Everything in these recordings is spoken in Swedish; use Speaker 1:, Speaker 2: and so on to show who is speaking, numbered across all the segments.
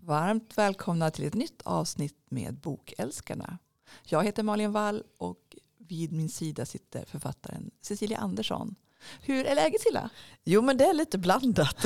Speaker 1: Varmt välkomna till ett nytt avsnitt med Bokälskarna. Jag heter Malin Wall och vid min sida sitter författaren Cecilia Andersson. Hur är läget Cilla?
Speaker 2: Jo men det är lite blandat.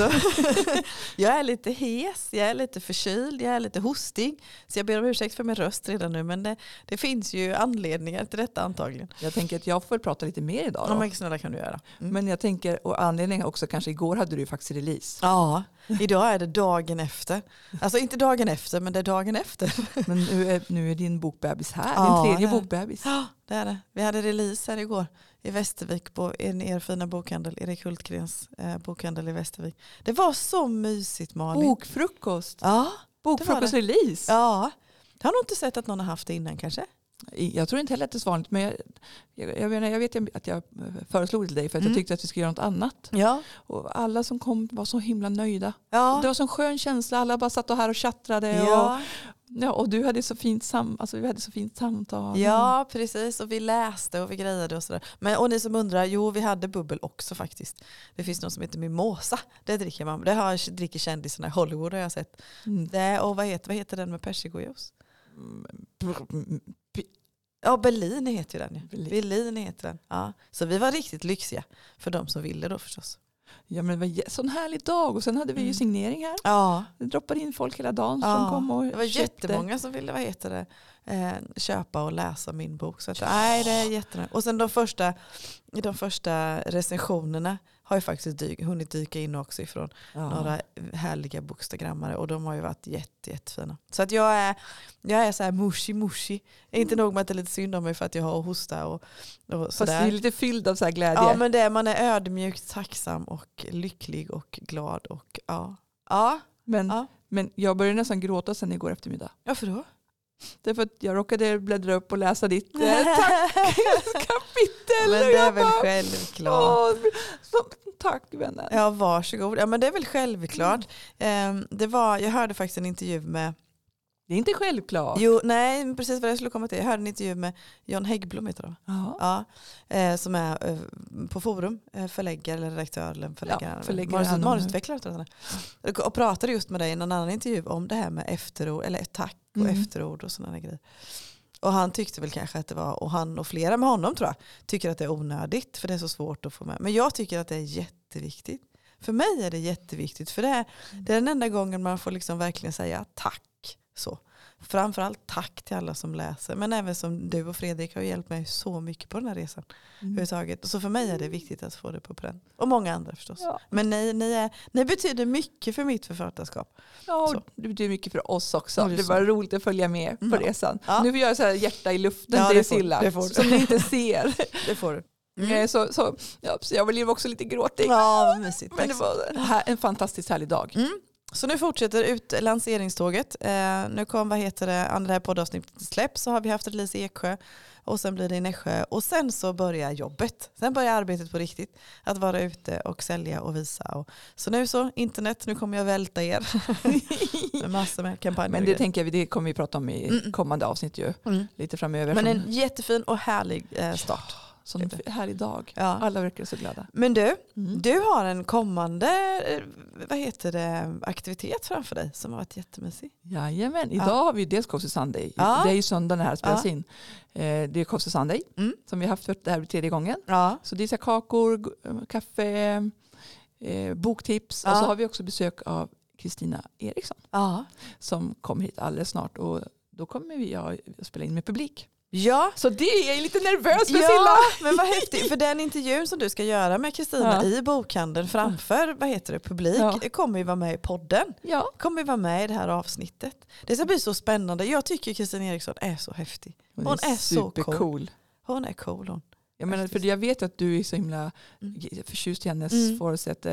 Speaker 2: jag är lite hes, jag är lite förkyld, jag är lite hostig. Så jag ber om ursäkt för min röst redan nu men det, det finns ju anledningar till detta antagligen.
Speaker 1: Jag tänker att jag får väl prata lite mer idag.
Speaker 2: Ja
Speaker 1: Då.
Speaker 2: men snälla kan du göra.
Speaker 1: Men jag tänker, och anledningen också kanske igår hade du ju faktiskt release.
Speaker 2: Ja, idag är det dagen efter. Alltså inte dagen efter men det är dagen efter.
Speaker 1: Men nu är, nu är din bokbebis här,
Speaker 2: Ja,
Speaker 1: din tredje
Speaker 2: det-
Speaker 1: bokbebis.
Speaker 2: Ja, det är det. Vi hade release här igår i Västervik på en er fina bokhandel, Erik Hultgrens eh, bokhandel i Västervik. Det var så mysigt Malin.
Speaker 1: Bokfrukost,
Speaker 2: Ja,
Speaker 1: bokfrukost-release.
Speaker 2: ja. Jag har nog inte sett att någon har haft det innan kanske.
Speaker 1: Jag tror inte heller att det är så vanligt men jag, jag, jag, menar, jag vet att jag föreslog det till dig för att
Speaker 2: Mm.
Speaker 1: jag tyckte att vi skulle göra något annat.
Speaker 2: Ja.
Speaker 1: Och alla som kom var så himla nöjda.
Speaker 2: Ja.
Speaker 1: Det var så en skön känsla. Alla bara satt och här och tjattrade. Och,
Speaker 2: Ja,
Speaker 1: ja, och du hade så fint, sam, alltså, vi hade så fint samtal.
Speaker 2: ja, mm. precis. Och vi läste och vi grejade och sådär. Men, och ni som undrar, jo vi hade bubbel också faktiskt. Det finns något som heter mimosa. Det dricker man. Det har, dricker kändisarna i Hollywood har jag sett.
Speaker 1: Mm.
Speaker 2: Det, och vad heter, vad heter den med persikojuice?
Speaker 1: Mm.
Speaker 2: Ja, Berlin heter ju den. ju.
Speaker 1: Berlin.
Speaker 2: Berlin heter den. Ja. Så vi var riktigt lyxiga. För de som ville då förstås.
Speaker 1: Ja, men det var en jä- sån härlig dag. Och sen hade vi ju
Speaker 2: Mm.
Speaker 1: signering här.
Speaker 2: Ja.
Speaker 1: Det droppade in folk hela dagen som
Speaker 2: Ja,
Speaker 1: kom och
Speaker 2: det var
Speaker 1: köpte.
Speaker 2: jättemånga som ville vad heter det, eh, köpa och läsa min bok. Så att, nej, det är jättenöjligt. Och sen de första, de första recensionerna har ju faktiskt dyk, hunnit dyka in också ifrån
Speaker 1: Ja.
Speaker 2: några härliga bokstagrammare och de har ju varit jätte, jättefina. Så att jag är, jag är så här mushi mushi. Inte nog med att det är lite synd om mig för att jag har hosta och, och
Speaker 1: Mm. Fast du är
Speaker 2: sådär.
Speaker 1: lite fylld av så här glädje.
Speaker 2: Ja men det, är- man är ödmjukt tacksam och lycklig och glad och ja. Ja,
Speaker 1: men,
Speaker 2: Ja.
Speaker 1: men jag började nästan gråta sen igår eftermiddag.
Speaker 2: varför då?
Speaker 1: Därför att jag råkade bläddra upp och läsa ditt eh, tackkapitel.
Speaker 2: Men
Speaker 1: och
Speaker 2: det är
Speaker 1: jag
Speaker 2: väl
Speaker 1: bara,
Speaker 2: självklart.
Speaker 1: "Åh, så- Tack vännen.
Speaker 2: Ja, varsågod. Ja, men det är väl självklart. Ehm, Det var, jag hörde faktiskt en intervju med,
Speaker 1: Det är inte självklart.
Speaker 2: jo, nej, men precis vad jag skulle komma till. Jag hörde en intervju med Jan Häggblom, heter han.
Speaker 1: Ja.
Speaker 2: Ja, eh, som är eh, på Forum, eh, förläggare eller redaktör eller förläggare.
Speaker 1: Ja, förläggare
Speaker 2: Manus-
Speaker 1: är han
Speaker 2: manusutvecklare tror jag att han är. Och pratade just med dig i någon annan intervju om det här med efterord, eller tack och
Speaker 1: Mm.
Speaker 2: efterord och sådana grejer. Och han tyckte väl kanske att det var, och han och flera med honom tror jag, tycker att det är onödigt för det är så svårt att få med. Men jag tycker att det är jätteviktigt. För mig är det jätteviktigt för det är,
Speaker 1: Mm.
Speaker 2: det är den enda gången man får liksom verkligen säga tack. Så. Framförallt tack till alla som läser men även som du och Fredrik har hjälpt mig så mycket på den här resan.
Speaker 1: Mm.
Speaker 2: överhuvudtaget. Så för mig är det viktigt att få det på pränt. Och många andra förstås.
Speaker 1: Ja.
Speaker 2: Men ni, ni, är, ni betyder mycket för mitt författarskap.
Speaker 1: Ja, och
Speaker 2: Så.
Speaker 1: det betyder mycket för oss också.
Speaker 2: Ja, det är
Speaker 1: Det
Speaker 2: så.
Speaker 1: var roligt att följa med på
Speaker 2: Mm.
Speaker 1: resan.
Speaker 2: Ja.
Speaker 1: Nu vill jag säga hjärta i luften
Speaker 2: Ja,
Speaker 1: till
Speaker 2: det får-
Speaker 1: Silla
Speaker 2: det får du.
Speaker 1: som ni inte ser.
Speaker 2: Det får du.
Speaker 1: Eh, Så, så, ja, så jag blev också lite gråtig.
Speaker 2: Ja, vad mysigt.
Speaker 1: Men
Speaker 2: Tack
Speaker 1: det
Speaker 2: så.
Speaker 1: var en här- en fantastiskt härlig dag.
Speaker 2: Mm. Så nu fortsätter ut lanseringståget. Eh, nu kom, vad heter det, andra här poddavsnittet släpps så har vi haft release i Eksjö och sen blir det i Nässjö och sen så börjar jobbet. Sen börjar arbetet på riktigt. Att vara ute och sälja och visa. Och, så nu så, internet, nu kommer jag välta er med massor med kampanjer.
Speaker 1: Men
Speaker 2: och
Speaker 1: det
Speaker 2: grejer.
Speaker 1: tänker vi, det kommer vi prata om i
Speaker 2: Mm.
Speaker 1: kommande avsnitt ju.
Speaker 2: Mm.
Speaker 1: Lite framöver.
Speaker 2: Men
Speaker 1: Från-
Speaker 2: en jättefin och härlig eh, start.
Speaker 1: Sån f- härlig dag.
Speaker 2: Ja.
Speaker 1: Alla verkar så glada.
Speaker 2: Men du,
Speaker 1: Mm.
Speaker 2: du har en kommande eh, vad heter det, aktivitet framför dig som har varit jättemysig.
Speaker 1: Jajamän,
Speaker 2: Ja.
Speaker 1: idag har vi ju dels Coffee Sunday.
Speaker 2: Ja.
Speaker 1: Det är ju söndagen det här spelas
Speaker 2: Ja.
Speaker 1: in. Eh, Det är Coffee Sunday
Speaker 2: Mm.
Speaker 1: som vi har haft för det här blir tredje gången.
Speaker 2: Ja.
Speaker 1: Så det är så här kakor, go- eh, kaffe, eh, boktips. Och
Speaker 2: Ja.
Speaker 1: så har vi också besök av Kristina Eriksson
Speaker 2: Ja.
Speaker 1: som kommer hit alldeles snart. Och då kommer vi ja, att spela in med publik.
Speaker 2: Ja,
Speaker 1: Så det är jag ju lite nervös för
Speaker 2: ja
Speaker 1: Silla.
Speaker 2: men vad häftigt. För den intervjun som du ska göra med Kristina
Speaker 1: Ja.
Speaker 2: i bokhandeln framför vad heter det, publik eh,
Speaker 1: Ja.
Speaker 2: kommer ju vara med i podden.
Speaker 1: Ja,
Speaker 2: Kommer vara med i det här avsnittet. Det ska bli så spännande. Jag tycker Kristina Eriksson är så häftig.
Speaker 1: hon,
Speaker 2: Hon
Speaker 1: är,
Speaker 2: är så
Speaker 1: supercool.
Speaker 2: Hon är cool hon.
Speaker 1: Jag, menar, för
Speaker 2: Faktiskt.
Speaker 1: jag vet att du är så himla
Speaker 2: Mm.
Speaker 1: förtjust i hennes
Speaker 2: Mm.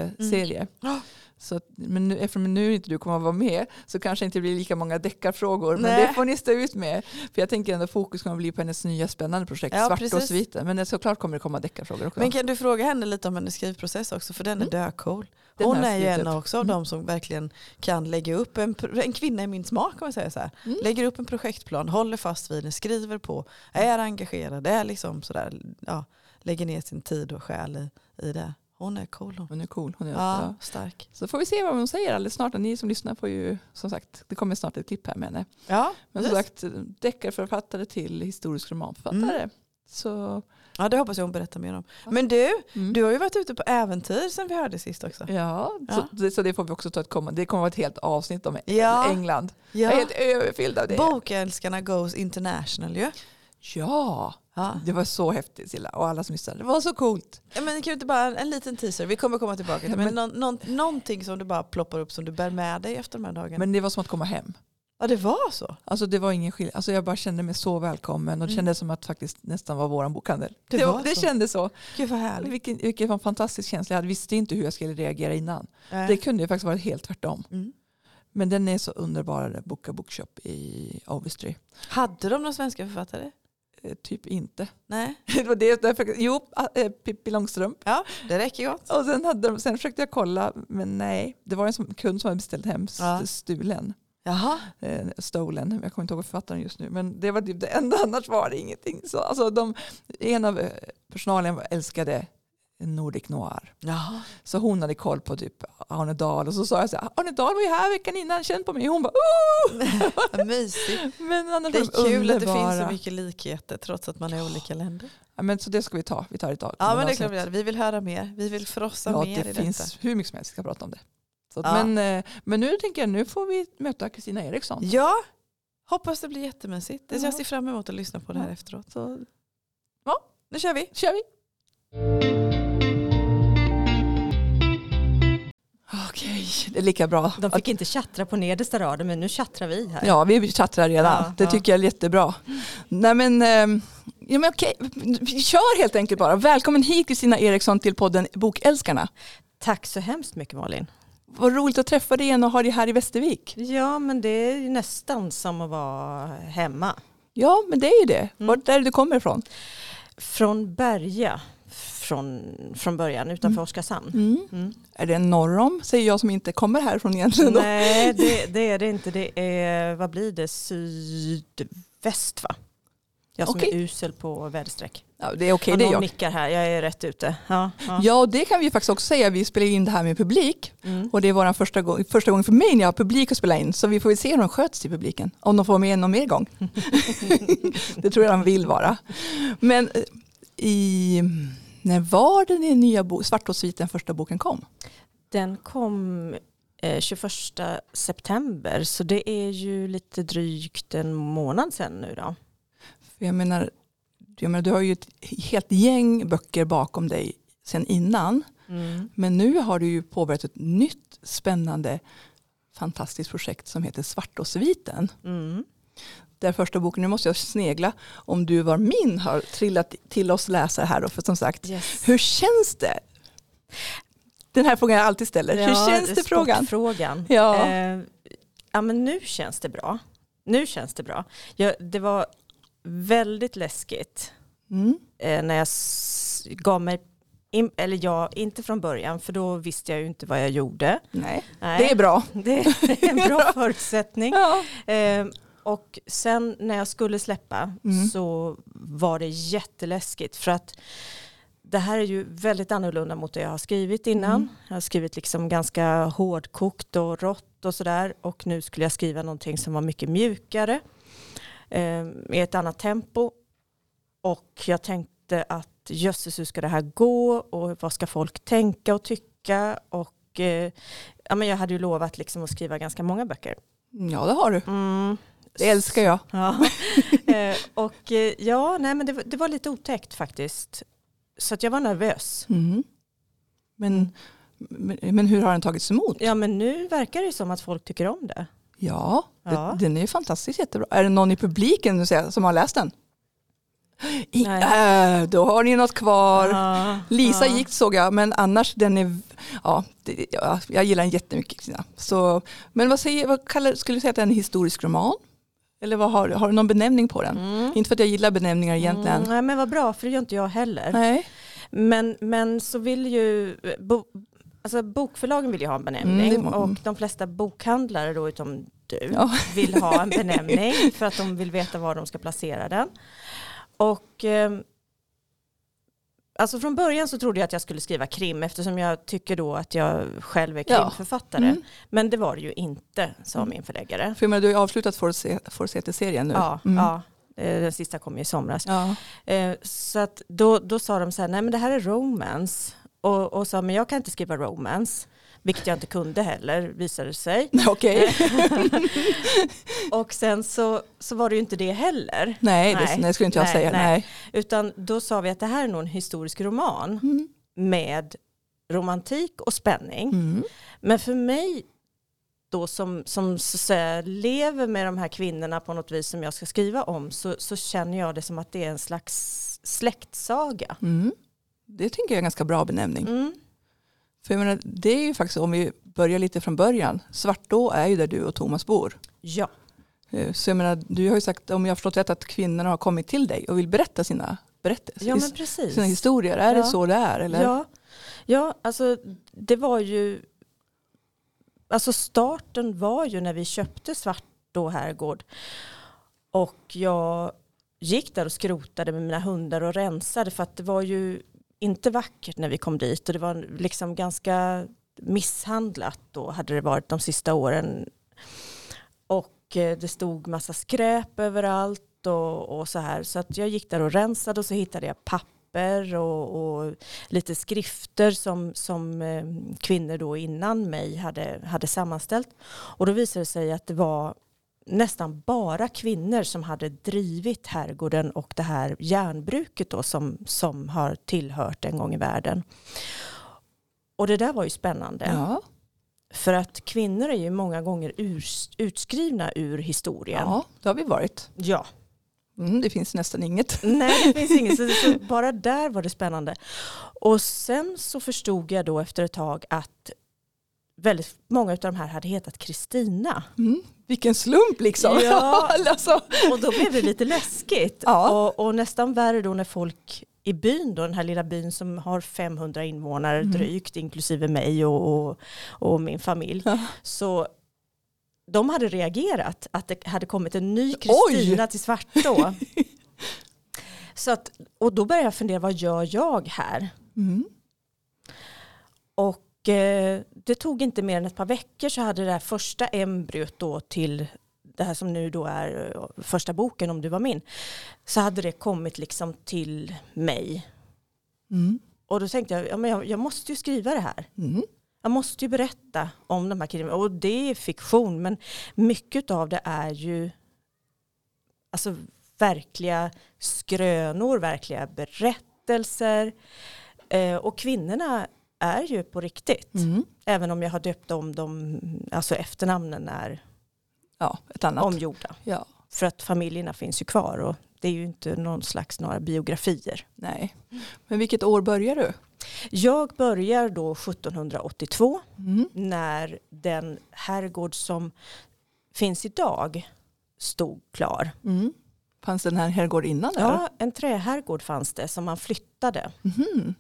Speaker 1: Forsäte-serie.
Speaker 2: Ja.
Speaker 1: Så, att- men nu, eftersom nu inte du kommer att vara med så kanske det inte blir lika många deckarfrågor. Men
Speaker 2: Nej.
Speaker 1: det får ni stå ut med. För jag tänker ändå fokus kommer bli på hennes nya spännande projekt,
Speaker 2: Ja,
Speaker 1: Svarta och
Speaker 2: precis.
Speaker 1: sviten. Men det- såklart kommer det komma deckarfrågor också.
Speaker 2: Men kan du fråga henne lite om hennes skrivprocess också? För Mm. den är döcool.
Speaker 1: Den
Speaker 2: Hon
Speaker 1: har jag
Speaker 2: är ju
Speaker 1: skrivit
Speaker 2: en
Speaker 1: upp.
Speaker 2: också av de som verkligen kan lägga upp en, pro- en kvinna i min smak om jag säger så här.
Speaker 1: Mm.
Speaker 2: Lägger upp en projektplan, håller fast vid den, skriver på, är engagerad, är liksom sådär, ja, lägger ner sin tid och själ i, i det. Hon är cool hon.
Speaker 1: Hon är cool. Hon är
Speaker 2: Ja,
Speaker 1: ja.
Speaker 2: stark.
Speaker 1: Så får vi se vad hon säger alldeles snart. Och Ni som lyssnar får ju, som sagt, det kommer snart ett klipp här med henne.
Speaker 2: Ja,
Speaker 1: Men som
Speaker 2: precis.
Speaker 1: sagt, deckarförfattare till historisk romanförfattare.
Speaker 2: Mm.
Speaker 1: Så,
Speaker 2: ja, det hoppas jag hon berättar mer om. Men du,
Speaker 1: mm.
Speaker 2: du har ju varit ute på äventyr sen vi hörde sist också.
Speaker 1: ja,
Speaker 2: Ja.
Speaker 1: Så, det, så det får vi också ta ett kommande. Det kommer vara ett helt avsnitt om
Speaker 2: Ja.
Speaker 1: England. Jag är
Speaker 2: Ja.
Speaker 1: helt överfylld av det.
Speaker 2: Bokälskarna goes international ju.
Speaker 1: Ja,
Speaker 2: Ja.
Speaker 1: det var så häftigt Silla. Och alla som lyssnade, det var så coolt.
Speaker 2: Ja, men kan du inte bara, en liten teaser, vi kommer komma tillbaka till
Speaker 1: Ja,
Speaker 2: men
Speaker 1: men-
Speaker 2: någon, någon, någonting som du bara ploppar upp som du bär med dig efter de här dagarna.
Speaker 1: Men det var som att komma hem.
Speaker 2: ja det var så.
Speaker 1: Alltså det var ingen skillnad. Alltså jag bara kände mig så välkommen och
Speaker 2: Mm.
Speaker 1: kände som att faktiskt nästan var våran bokhandel.
Speaker 2: Det
Speaker 1: Det,
Speaker 2: var
Speaker 1: var, det
Speaker 2: så.
Speaker 1: kändes så.
Speaker 2: Gud vad härligt.
Speaker 1: Vilken, vilken fan fantastisk känsla. Jag hade- visste inte hur jag skulle reagera innan.
Speaker 2: Nej.
Speaker 1: Det kunde ju faktiskt varit helt tvärtom.
Speaker 2: Mm.
Speaker 1: Men den är så underbar, den Boka Bookshop i Avestry.
Speaker 2: Hade de några svenska författare?
Speaker 1: Eh, Typ inte.
Speaker 2: Nej,
Speaker 1: Det var det, därför, jo, eh, Pippi Långstrump.
Speaker 2: det räcker gott.
Speaker 1: Och sen, hade de, sen försökte jag kolla, men nej. Det var en som, kund som hade beställt hem st-
Speaker 2: Ja.
Speaker 1: stulen.
Speaker 2: Jaha.
Speaker 1: eh, Stolen, jag kommer inte ihåg författaren just nu, men det var typ det enda, annars var det ingenting. Så, alltså, de, en av eh, personalen älskade Nordic Noir,
Speaker 2: Jaha.
Speaker 1: så hon hade koll på typ Arne Dahl och så sa jag så här, Arne Dahl var ju här veckan innan, känn på mig. Hon bara, oh!
Speaker 2: Vad mysigt.
Speaker 1: Men annars
Speaker 2: Det är
Speaker 1: var de
Speaker 2: kul att det finns så
Speaker 1: underbara.
Speaker 2: mycket likheter trots att man är i olika länder.
Speaker 1: Ja, men, så det ska vi ta, vi tar ett tag.
Speaker 2: Ja men det är
Speaker 1: avsnitt.
Speaker 2: klart vi gör. Vi vill höra mer. Vi vill frossa
Speaker 1: Ja,
Speaker 2: mer i
Speaker 1: det
Speaker 2: detta.
Speaker 1: finns hur mycket som helst vi ska prata om det. Så, att-
Speaker 2: Ja.
Speaker 1: men, eh, men nu tänker jag, nu får vi möta Kristina Eriksson.
Speaker 2: Ja, hoppas det blir jättemysigt. Det-
Speaker 1: Ja.
Speaker 2: Jag ser fram emot att lyssna på det här
Speaker 1: Ja.
Speaker 2: efteråt.
Speaker 1: Så
Speaker 2: Nu kör vi.
Speaker 1: kör vi! Okej, det är lika bra.
Speaker 3: De
Speaker 1: att-
Speaker 3: fick inte tjattra på nedersta raden men nu tjattrar vi här.
Speaker 1: Ja, vi chattar redan.
Speaker 3: Ja,
Speaker 1: det
Speaker 3: ja.
Speaker 1: tycker jag är jättebra. Nej men, ehm, ja, men okej, vi kör helt enkelt bara. Välkommen hit Kristina Eriksson till podden Bokälskarna.
Speaker 3: Tack så hemskt mycket Malin.
Speaker 1: Vad roligt att träffa dig igen och ha dig här i Västervik.
Speaker 3: Ja men det är ju nästan som att vara hemma.
Speaker 1: Ja, men det är ju det.
Speaker 3: Mm.
Speaker 1: Vart är det du kommer ifrån?
Speaker 3: Från Berga från, från början utanför Oskarshamn. Mm.
Speaker 1: Är det norr om, säger jag som inte kommer härifrån egentligen. då.
Speaker 3: Nej det, det är det inte. Det är, vad blir det, sydväst va? Jag som är
Speaker 1: Okej.
Speaker 3: usel på väderstreck.
Speaker 1: Ja, det är okej,
Speaker 3: Ja,
Speaker 1: det är
Speaker 3: någon
Speaker 1: jag.
Speaker 3: nickar här, jag är rätt ute. Ja, ja.
Speaker 1: Ja, och det kan vi faktiskt också säga. Vi spelar in det här med publik.
Speaker 3: Mm.
Speaker 1: Och det är vår första, gång, första gången för mig när jag har publik att spela in. Så vi får väl se hur de sköts till publiken. Om de får med någon mer gång. det tror jag de vill vara. Men eh, i, när var det den nya bo, Svartåssviten första boken kom?
Speaker 3: Den kom eh, 21 september så det är ju lite drygt en månad sedan nu då.
Speaker 1: För jag, menar, jag menar, du har ju ett helt gäng böcker bakom dig sen innan.
Speaker 3: Mm.
Speaker 1: Men nu har du ju påbörjat ett nytt spännande fantastiskt projekt som heter Svartåssviten.
Speaker 3: Mm.
Speaker 1: där första boken, nu måste jag snegla om du var min har trillat till oss läsare här då, för som sagt,
Speaker 3: Yes.
Speaker 1: hur känns det? Den här frågan jag alltid ställer, hur känns det frågan?
Speaker 3: Frågan.
Speaker 1: Ja.
Speaker 3: Eh, ja men nu känns det bra. Nu känns det bra. Jag, det var väldigt läskigt
Speaker 1: Mm.
Speaker 3: eh, när jag s- gav mig in, eller jag, inte från början för då visste jag ju inte vad jag gjorde.
Speaker 1: Nej,
Speaker 3: Nej,
Speaker 1: det är bra.
Speaker 3: det är en bra förutsättning.
Speaker 1: Ja.
Speaker 3: Ehm, och sen när jag skulle släppa
Speaker 1: Mm.
Speaker 3: så var det jätteläskigt för att det här är ju väldigt annorlunda mot det jag har skrivit innan.
Speaker 1: Mm.
Speaker 3: Jag har skrivit liksom ganska hårdkokt och rått och sådär och nu skulle jag skriva någonting som var mycket mjukare ehm, i ett annat tempo. Och jag tänkte att jösses hur ska det här gå och vad ska folk tänka och tycka och eh, ja, men jag hade ju lovat liksom att skriva ganska många böcker.
Speaker 1: ja, det har du.
Speaker 3: Mm.
Speaker 1: Det älskar jag.
Speaker 3: Ja. Eh, och eh, ja, nej men det, var- det var lite otäckt faktiskt. Så att jag var nervös.
Speaker 1: Mm. Men, men, men hur har den tagits emot?
Speaker 3: Ja men nu verkar det som att folk tycker om det.
Speaker 1: Ja,
Speaker 3: Ja.
Speaker 1: Det, den är ju fantastiskt jättebra. Är det någon i publiken du säger, som har läst den? I, äh, då har ni något kvar.
Speaker 3: Ja,
Speaker 1: Lisa
Speaker 3: ja.
Speaker 1: gick såg jag, men annars den är, ja, det, ja jag gillar den jättemycket. Kristina. Så, men vad, säger, vad kallar, skulle du säga att det är en historisk roman? Eller vad har, du- har du någon benämning på den?
Speaker 3: Mm.
Speaker 1: Inte för att jag gillar benämningar egentligen.
Speaker 3: Mm, nej men vad bra, för det gör inte jag heller.
Speaker 1: Nej,
Speaker 3: Men, men så vill ju... Bo, alltså bokförlagen vill ju ha en benämning
Speaker 1: Mm, det må-
Speaker 3: och de flesta bokhandlare då utom du
Speaker 1: Ja.
Speaker 3: vill ha en benämning för att de vill veta var de ska placera den. Och eh, ehm, Alltså från början så trodde jag att jag skulle skriva krim eftersom jag tycker då att jag själv är
Speaker 1: Ja.
Speaker 3: krimförfattare.
Speaker 1: Mm.
Speaker 3: Men det var det ju inte, sa min förläggare.
Speaker 1: För jag menar, du har ju avslutat Forsete-serien nu.
Speaker 3: Ja,
Speaker 1: Mm.
Speaker 3: ja. Eh, Den sista kom ju i somras.
Speaker 1: Ja.
Speaker 3: Eh, Så att då, då sa de så här, nej men det här är romance. Och, och sa, men jag kan inte skriva romance. Vilket jag inte kunde heller, visade det sig.
Speaker 1: Okej,
Speaker 3: Och sen så, så var det ju inte det heller.
Speaker 1: nej, det
Speaker 3: Nej.
Speaker 1: nej, skulle inte jag
Speaker 3: Nej,
Speaker 1: säga. Nej.
Speaker 3: nej. Utan då sa vi att det här är nog en historisk roman
Speaker 1: Mm.
Speaker 3: med romantik och spänning.
Speaker 1: Mm.
Speaker 3: Men för mig då som, som så att säga, lever med de här kvinnorna på något vis som jag ska skriva om så, så känner jag det som att det är en slags släktsaga.
Speaker 1: Mm. Det tycker jag är en ganska bra benämning.
Speaker 3: Mm.
Speaker 1: För jag menar, det är ju faktiskt, om vi börjar lite från början, Svartå är ju där du och Thomas bor.
Speaker 3: Ja.
Speaker 1: Eh, Så jag menar, du har ju sagt, om jag har förstått rätt, att kvinnorna har kommit till dig och vill berätta sina berättelser,
Speaker 3: ja, men
Speaker 1: sina
Speaker 3: precis.
Speaker 1: historier. Är det
Speaker 3: Ja.
Speaker 1: så det är? Eller?
Speaker 3: Ja. ja, alltså det var ju... Alltså starten var ju när vi köpte Svartå herrgård. Och jag gick där och skrotade med mina hundar och rensade för att det var ju inte vackert när vi kom dit och det var liksom ganska misshandlat då hade det varit de sista åren. Och eh, det stod massa skräp överallt och, och så här. Så att jag gick där och rensade och så hittade jag papper och, och lite skrifter som, som eh, kvinnor då innan mig hade, hade sammanställt. Och då visade det sig att det var nästan bara kvinnor som hade drivit herrgården och det här järnbruket då som, som har tillhört en gång i världen. Och det där var ju spännande.
Speaker 1: Ja,
Speaker 3: För att kvinnor är ju många gånger urs- utskrivna ur historien.
Speaker 1: ja, det har vi varit.
Speaker 3: Ja.
Speaker 1: Mm, det finns nästan inget.
Speaker 3: Nej, det finns inget. Så, så bara där var det spännande. Och sen så förstod jag då efter ett tag att väldigt många av de här hade hetat Kristina.
Speaker 1: Mm. Vilken slump liksom.
Speaker 3: Ja.
Speaker 1: alltså.
Speaker 3: Och då blev det lite läskigt.
Speaker 1: Ja.
Speaker 3: Och, och nästan värre då när folk i byn, då, den här lilla byn som har 500 invånare
Speaker 1: Mm.
Speaker 3: drygt, inklusive mig och, och, och min familj.
Speaker 1: Ja.
Speaker 3: Så de hade reagerat att det hade kommit en ny
Speaker 1: Oj!
Speaker 3: Kristina till Svartå. Så att, och då började jag fundera, vad gör jag här?
Speaker 1: Mm.
Speaker 3: Och eh, det tog inte mer än ett par veckor så hade det här första embryot då till det här som nu då är eh, första boken om du var min. Så hade det kommit liksom till mig.
Speaker 1: Mm.
Speaker 3: Och då tänkte jag, ja, men jag, jag måste ju skriva det här.
Speaker 1: Mm.
Speaker 3: Jag måste ju berätta om de här kriminella. Och det är fiktion men mycket av det är ju alltså, verkliga skrönor, verkliga berättelser. Eh, och kvinnorna är ju på riktigt.
Speaker 1: Mm.
Speaker 3: Även om jag har döpt om dem, alltså efternamnen är
Speaker 1: Ja, ett annat.
Speaker 3: omgjorda.
Speaker 1: Ja.
Speaker 3: För att familjerna finns ju kvar och det är ju inte någon slags några biografier.
Speaker 1: Nej. Men vilket år börjar du?
Speaker 3: Jag börjar då 1782
Speaker 1: Mm.
Speaker 3: när den herrgård som finns idag stod klar.
Speaker 1: Mm. Fanns den här herrgård innan? eller?
Speaker 3: Ja, en träherrgård fanns det som man flyttade.
Speaker 1: Mhm.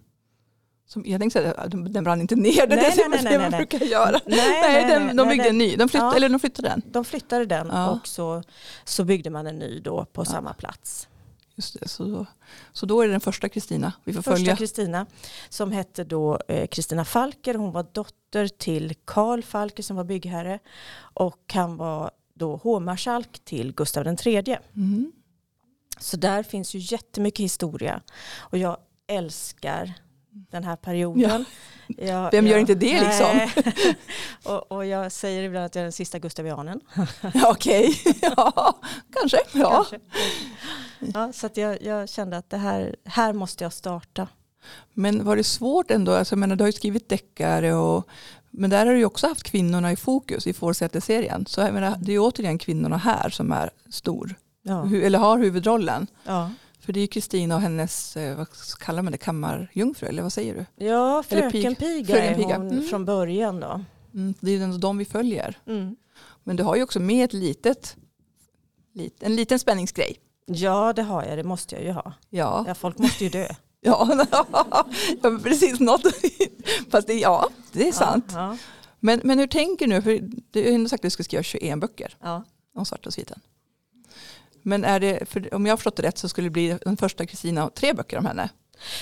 Speaker 1: Som, jag tänkte säga, att den brrann inte ner, det
Speaker 3: Nej,
Speaker 1: är det
Speaker 3: nej,
Speaker 1: som
Speaker 3: nej,
Speaker 1: det man
Speaker 3: nej, nej.
Speaker 1: brukar göra.
Speaker 3: Nej,
Speaker 1: Nej, den, de byggde
Speaker 3: den-
Speaker 1: en ny, de flyttade,
Speaker 3: Ja.
Speaker 1: eller de flyttade den.
Speaker 3: De flyttade den
Speaker 1: Ja.
Speaker 3: och så, så byggde man en ny då på
Speaker 1: Ja.
Speaker 3: samma plats.
Speaker 1: Just det, så, så då är det den första Kristina vi får
Speaker 3: Första
Speaker 1: följa.
Speaker 3: Kristina som hette då eh, Kristina Falker. Hon var dotter till Karl Falker som var byggherre och han var då hovmarskalk till Gustav III.
Speaker 1: Mm.
Speaker 3: Så där finns ju jättemycket historia och jag älskar den här perioden.
Speaker 1: Ja. Vem gör inte det, liksom?
Speaker 3: liksom? och, och jag säger ibland att jag är den sista gustavianen.
Speaker 1: Ja, Okej, ja, kanske. Ja.
Speaker 3: kanske.
Speaker 1: Mm.
Speaker 3: Ja, så att jag, jag kände att det här, här måste jag starta.
Speaker 1: Men var det svårt ändå? Alltså, jag menar, du har ju skrivit deckare och men där har du ju också haft kvinnorna i fokus i Forsäter-serien. Så jag menar, det är ju återigen kvinnorna här som är stor,
Speaker 3: Ja.
Speaker 1: hu- eller har huvudrollen.
Speaker 3: Ja.
Speaker 1: För det är ju Kristina och hennes, eh, vad kallar man det, kammarjungfru, eller vad säger du?
Speaker 3: Ja,
Speaker 1: Eller pig-
Speaker 3: Fröken Piga
Speaker 1: Fröken
Speaker 3: är hon
Speaker 1: Piga. Mm.
Speaker 3: från början då.
Speaker 1: Mm, det är ju ändå de vi följer. Men du har ju också med ett litet, lit, en liten spänningsgrej.
Speaker 3: Ja, det har jag, det måste jag ju ha.
Speaker 1: Ja,
Speaker 3: Ja, folk måste ju dö.
Speaker 1: ja, ja men precis något. Fast det, ja, det är sant.
Speaker 3: Ja,
Speaker 1: Men, men hur tänker du? För du har ju ändå sagt att du ska skriva 21 böcker
Speaker 3: ja.
Speaker 1: om svarta sviten. Men är det, för om jag har förstått det rätt så skulle det bli den första Kristina och tre böcker om henne.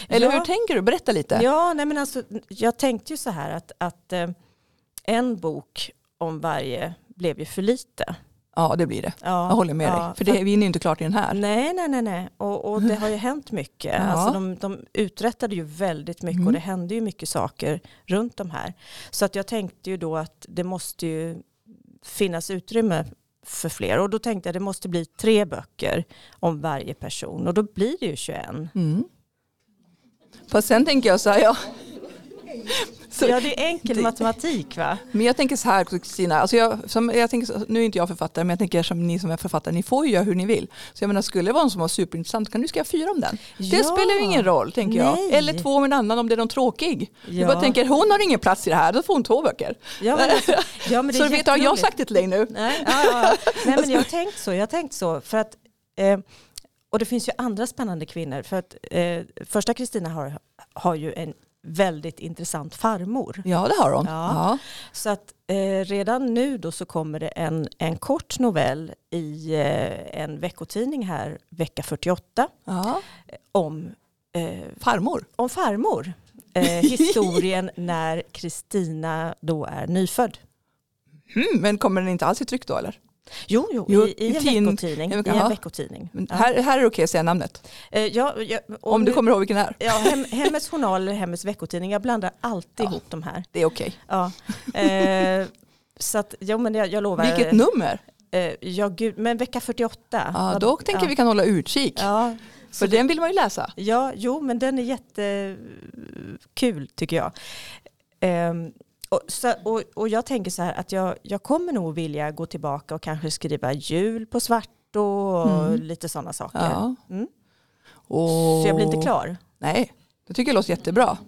Speaker 1: Eller
Speaker 3: Ja.
Speaker 1: hur tänker du? Berätta lite.
Speaker 3: Ja, nej men alltså, jag tänkte ju så här att, att eh, en bok om varje blev ju för lite.
Speaker 1: Ja, det blir det.
Speaker 3: Ja,
Speaker 1: Jag håller med
Speaker 3: ja,
Speaker 1: dig. För det, vi hinner ju inte klart i den här.
Speaker 3: Nej, nej, nej, nej. Och, och det har ju hänt mycket.
Speaker 1: Ja.
Speaker 3: Alltså de, de uträttade ju väldigt mycket
Speaker 1: Mm.
Speaker 3: och det hände ju mycket saker runt de här. Så att jag tänkte ju då att det måste ju finnas utrymme för fler. Och då tänkte jag att det måste bli tre böcker om varje person. Och då blir det ju 21.
Speaker 1: Mm. Fast sen tänker jag så här, ja. Så-
Speaker 3: ja, det är enkel
Speaker 1: det-
Speaker 3: matematik va?
Speaker 1: Men jag tänker så här Kristina, alltså jag, som, jag tänker, så- nu är inte jag författare men jag tänker som ni som är författare, ni får ju göra hur ni vill. Så jag menar skulle det vara en som var superintressant kan du skriva fyra om den. Det
Speaker 3: Ja.
Speaker 1: spelar ju ingen roll tänker
Speaker 3: Nej.
Speaker 1: jag. Eller två om en annan om det är någon tråkig.
Speaker 3: Ja.
Speaker 1: Jag bara tänker hon har ingen plats i det här, då får hon två böcker.
Speaker 3: Ja, men alltså, ja, men det
Speaker 1: så
Speaker 3: är
Speaker 1: du vet, har jag
Speaker 3: jätteroligt.
Speaker 1: sagt det till dig nu?
Speaker 3: Nej, ja, ja, ja. Nej men jag har tänkt så. Jag har tänkt så för att, eh, och det finns ju andra spännande kvinnor. För att, eh, första Kristina har, har ju en väldigt intressant farmor.
Speaker 1: Ja det har hon.
Speaker 3: Ja.
Speaker 1: Ja.
Speaker 3: Så att eh, redan nu då så kommer det en, en kort novell i eh, en veckotidning här, vecka 48,
Speaker 1: Ja.
Speaker 3: om, eh,
Speaker 1: Farmor.
Speaker 3: om farmor. Eh, historien när Kristina då är nyfödd.
Speaker 1: Mm, men kommer den inte alls i tryck då eller?
Speaker 3: Jo, jo,
Speaker 1: Jo,
Speaker 3: i, i,
Speaker 1: i
Speaker 3: en,
Speaker 1: tidning.
Speaker 3: veckotidning, i en
Speaker 1: Jaha.
Speaker 3: veckotidning.
Speaker 1: Men
Speaker 3: Ja.
Speaker 1: här, här är det okej att säga namnet.
Speaker 3: Eh, ja, ja, och
Speaker 1: Om du
Speaker 3: nu-
Speaker 1: kommer ihåg vilken det är.
Speaker 3: Ja, hem, hemmets journal eller Hemmets veckotidning. Jag blandar alltid
Speaker 1: Ja.
Speaker 3: ihop de här.
Speaker 1: Det är okej.
Speaker 3: Ja. Eh, så att, jo, men jag, jag lovar.
Speaker 1: Vilket nummer?
Speaker 3: Eh, ja, gud, men vecka 48.
Speaker 1: Ja,
Speaker 3: Vad-
Speaker 1: då tänker
Speaker 3: ja.
Speaker 1: vi kan hålla utkik.
Speaker 3: Ja,
Speaker 1: För den vill man ju läsa.
Speaker 3: ja, jo, men den är jättekul tycker jag. Ehm, och, så, och, och jag tänker så här att jag, jag kommer nog vilja gå tillbaka och kanske skriva jul på svart och
Speaker 1: Mm.
Speaker 3: lite sådana saker.
Speaker 1: Ja.
Speaker 3: Mm.
Speaker 1: Och...
Speaker 3: Så jag blir inte klar.
Speaker 1: Nej, det tycker jag låter jättebra.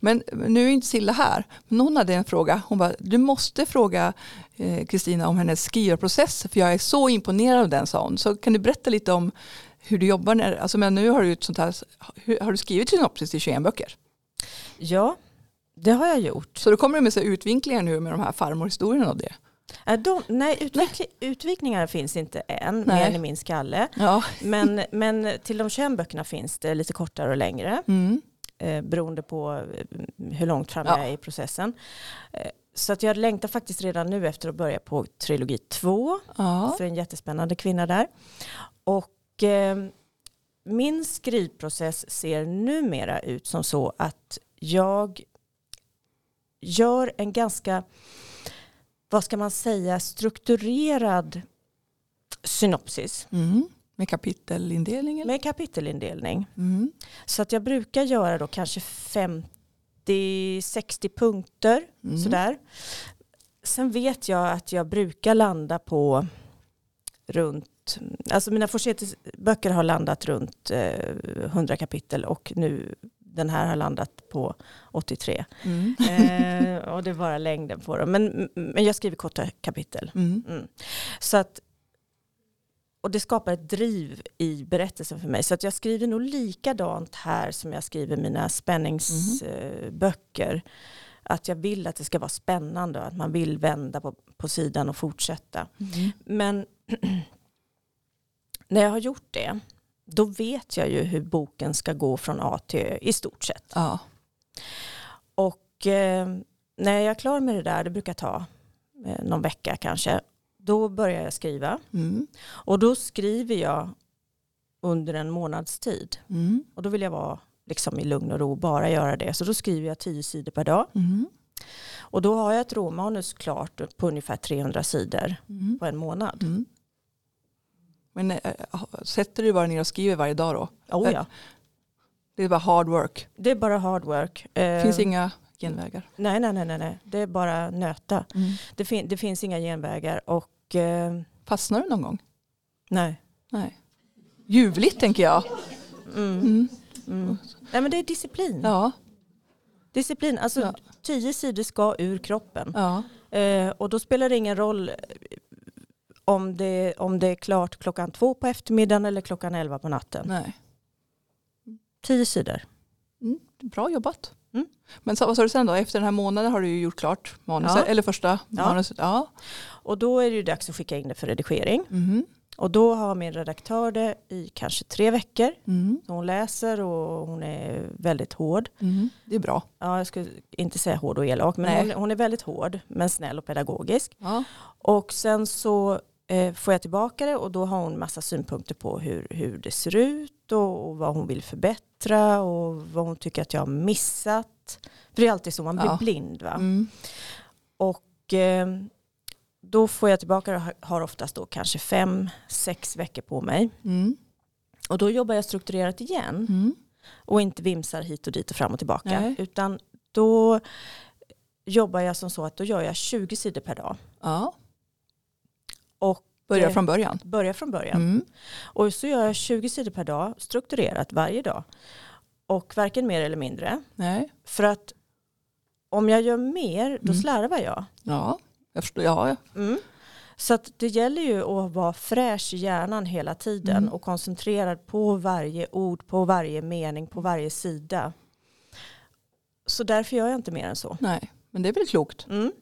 Speaker 1: Men nu är inte Silla här. Men hon hade en fråga. Hon bara, du måste fråga eh, Kristina om hennes skrivarprocess. För jag är så imponerad av den, sa hon. Så kan du berätta lite om hur du jobbar? När, alltså, men nu har du, ett sånt här, hur- har du skrivit synopsis till 21 böcker.
Speaker 3: Ja, det har jag gjort.
Speaker 1: Så då kommer du med så här utvinklingar nu med de här farmorhistorierna och det.
Speaker 3: Äh, De, nej, utveckli, utvikningar finns inte än,
Speaker 1: Nej.
Speaker 3: mer i min skalle.
Speaker 1: Ja.
Speaker 3: Men, men till de 21 böckerna finns det lite kortare och längre,
Speaker 1: Mm.
Speaker 3: eh, beroende på eh, hur långt fram
Speaker 1: Ja.
Speaker 3: jag är i processen. Eh, så att jag längtar faktiskt redan nu efter att börja på trilogi 2,
Speaker 1: ja.
Speaker 3: för en jättespännande kvinna där. Och eh, min skrivprocess ser numera ut som så att jag gör en ganska, vad ska man säga, strukturerad synopsis
Speaker 1: Mm. Med kapitelindelning? eller?
Speaker 3: med kapitelindelning.
Speaker 1: Mm.
Speaker 3: Så att jag brukar göra då kanske 50-60 punkter
Speaker 1: Mm.
Speaker 3: sådär. Sen vet jag att jag brukar landa på runt, alltså mina böcker har landat runt eh, 100 kapitel och nu den här har landat på 83.
Speaker 1: Mm.
Speaker 3: Eh, och det är bara längden på dem. Men, men jag skriver korta kapitel.
Speaker 1: Mm.
Speaker 3: Mm. Så att, och det skapar ett driv i berättelsen för mig. Så att jag skriver nog likadant här som jag skriver mina spänningsböcker. Att jag vill att det ska vara spännande och att man vill vända på, på sidan och fortsätta.
Speaker 1: Mm.
Speaker 3: Men när jag har gjort det, då vet jag ju hur boken ska gå från A till Ö i stort sett.
Speaker 1: Ja.
Speaker 3: Och eh, när jag är klar med det där, det brukar ta eh, någon vecka kanske, då börjar jag skriva.
Speaker 1: Mm.
Speaker 3: Och då skriver jag under en månads tid.
Speaker 1: Mm.
Speaker 3: Och då vill jag vara liksom i lugn och ro, bara göra det. Så då skriver jag tio sidor per dag.
Speaker 1: Mm.
Speaker 3: Och då har jag ett råmanus klart på ungefär 300 sidor
Speaker 1: Mm.
Speaker 3: på en månad.
Speaker 1: Mm. Men eh, sätter du bara ner och skriver varje dag då?
Speaker 3: Oh, ja.
Speaker 1: Det är bara hard work.
Speaker 3: Det är bara hard work. Eh,
Speaker 1: Finns inga genvägar.
Speaker 3: Nej, nej, nej, nej, nej. Det är bara nöta. Det, fin- det finns inga genvägar och eh,
Speaker 1: Fastnar du någon gång?
Speaker 3: nej.
Speaker 1: Nej. Ljuvligt tänker jag.
Speaker 3: Mm.
Speaker 1: Mm.
Speaker 3: Mm. Nej, men det är disciplin.
Speaker 1: Ja,
Speaker 3: Disciplin, alltså
Speaker 1: Ja.
Speaker 3: tio sidor ska ur kroppen.
Speaker 1: ja.
Speaker 3: Eh, och då spelar det ingen roll eh, om det, om det är klart klockan två på eftermiddagen eller klockan elva på natten.
Speaker 1: Nej.
Speaker 3: Tio sidor.
Speaker 1: Bra jobbat.
Speaker 3: Mm.
Speaker 1: Men så, vad sa du sen då? Efter den här månaden har du ju gjort klart manuset.
Speaker 3: Ja.
Speaker 1: Eller första
Speaker 3: Ja.
Speaker 1: manuset. Ja.
Speaker 3: Och då är det ju dags att skicka in det för redigering.
Speaker 1: Mhm.
Speaker 3: Och då har min redaktör det i kanske tre veckor.
Speaker 1: Mm.
Speaker 3: Så hon läser och hon är väldigt hård.
Speaker 1: Mm. Det är bra.
Speaker 3: Ja, jag skulle inte säga hård och elak, men
Speaker 1: Nej.
Speaker 3: hon, hon är väldigt hård, men snäll och pedagogisk.
Speaker 1: Ja.
Speaker 3: Och sen så eh, får jag tillbaka det och då har hon massa synpunkter på hur, hur det ser ut och, och vad hon vill förbättra och vad hon tycker att jag har missat. För det är alltid så, man blir
Speaker 1: Ja.
Speaker 3: blind va.
Speaker 1: Mm.
Speaker 3: Och eh, då får jag tillbaka och har- har oftast då kanske fem, sex veckor på mig.
Speaker 1: Mm.
Speaker 3: Och då jobbar jag strukturerat igen
Speaker 1: Mm.
Speaker 3: och inte vimsar hit och dit och fram och tillbaka.
Speaker 1: Nej.
Speaker 3: Utan då jobbar jag som så att då gör jag 20 sidor per dag.
Speaker 1: Ja.
Speaker 3: Och
Speaker 1: Börja
Speaker 3: eh,
Speaker 1: från början.
Speaker 3: börjar från början.
Speaker 1: Mm.
Speaker 3: Och så gör jag 20 sidor per dag, strukturerat varje dag. Och varken mer eller mindre.
Speaker 1: Nej.
Speaker 3: För att om jag gör mer, då
Speaker 1: Mm.
Speaker 3: slarvar jag.
Speaker 1: Ja, jag förstår. Ja, ja.
Speaker 3: Mm. Så att det gäller ju att vara fräsch i hjärnan hela tiden
Speaker 1: Mm.
Speaker 3: och koncentrerad på varje ord, på varje mening, på varje sida. Så därför gör jag inte mer än så.
Speaker 1: Nej. Men det är väl klokt.
Speaker 3: Mm.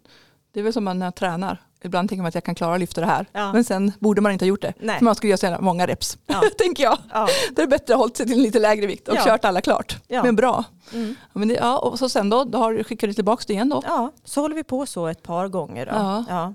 Speaker 1: Det är väl som man när jag tränar. Ibland tänker man att jag kan klara att lyfta det här.
Speaker 3: Ja.
Speaker 1: Men sen borde man inte ha gjort det.
Speaker 3: Nej.
Speaker 1: För man skulle göra så jävla många reps.
Speaker 3: Ja.
Speaker 1: tänker jag.
Speaker 3: Ja.
Speaker 1: Då är det bättre att ha hållit sig till en lite lägre vikt och
Speaker 3: Ja.
Speaker 1: kört alla klart.
Speaker 3: Ja.
Speaker 1: Men bra.
Speaker 3: Mm.
Speaker 1: Ja, Men det, ja, och så sen då, då har, skickar du tillbaka det igen då.
Speaker 3: ja, så håller vi på så ett par gånger. Då.
Speaker 1: Ja.
Speaker 3: Ja.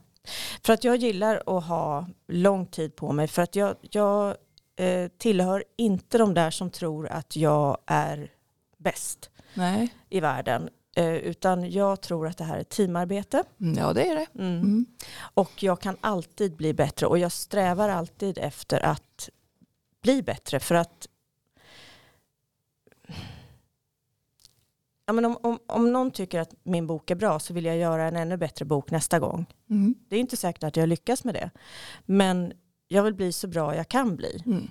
Speaker 3: För att jag gillar att ha lång tid på mig för att jag, jag eh, tillhör inte de där som tror att jag är bäst
Speaker 1: Nej.
Speaker 3: i världen. Eh, utan jag tror att det här är ett teamarbete.
Speaker 1: Mm, Ja, det är det.
Speaker 3: Mm.
Speaker 1: Mm.
Speaker 3: Och jag kan alltid bli bättre och jag strävar alltid efter att bli bättre för att ja, men om, om, om någon tycker att min bok är bra så vill jag göra en ännu bättre bok nästa gång.
Speaker 1: Mm.
Speaker 3: Det är inte säkert att jag lyckas med det men jag vill bli så bra jag kan bli.
Speaker 1: Mm.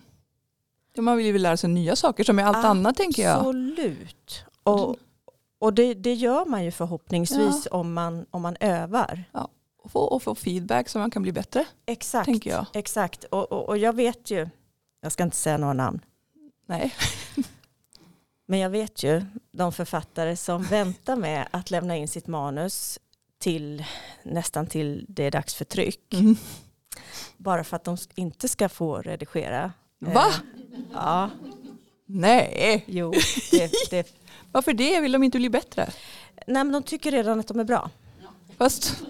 Speaker 1: Ja, man vill ju lära sig nya saker som är
Speaker 3: Ah,
Speaker 1: allt annat tänker jag.
Speaker 3: Absolut. Och, och det, det gör man ju förhoppningsvis om, man, om man övar.
Speaker 1: Och få, och få feedback så man kan bli bättre.
Speaker 3: Exakt.
Speaker 1: Tänker jag.
Speaker 3: Exakt. Och, och, och jag vet ju, jag ska inte säga några namn,
Speaker 1: Nej.
Speaker 3: Men jag vet ju de författare som väntar med att lämna in sitt manus till nästan till det är dags för tryck.
Speaker 1: Mm.
Speaker 3: Bara för att de inte ska få redigera. Eh,
Speaker 1: Va?
Speaker 3: Ja,
Speaker 1: Nej.
Speaker 3: jo. Det, det.
Speaker 1: Varför det? Vill de inte bli bättre?
Speaker 3: Nej men de tycker redan att de är bra.
Speaker 1: Fast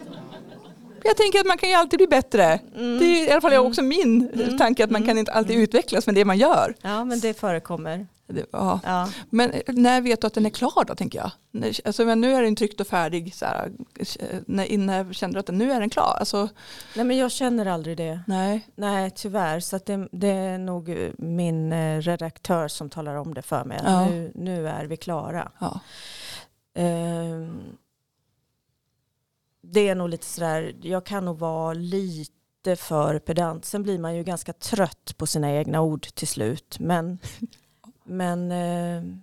Speaker 1: jag tänker att man kan ju alltid bli bättre. Det är i alla fall också min tanke att man kan inte alltid utvecklas med det man gör.
Speaker 3: Ja men det förekommer.
Speaker 1: Det, ja.
Speaker 3: Ja.
Speaker 1: Men eh, när vet du att den är klar då tänker jag? När- Alltså, men nu är den tryckt och färdig. Så här, eh, när, när känner du att den, nu är den klar? Alltså,
Speaker 3: Nej men jag känner aldrig det.
Speaker 1: nej.
Speaker 3: Nej tyvärr så att det, det är nog eh, min eh, redaktör som talar om det för mig. att
Speaker 1: Ja.
Speaker 3: Nu, nu är vi klara.
Speaker 1: Ja.
Speaker 3: Ehm, det är nog lite sådär, jag kan nog vara lite för pedant. Sen blir man ju ganska trött på sina egna ord till slut. Men, men, ehm,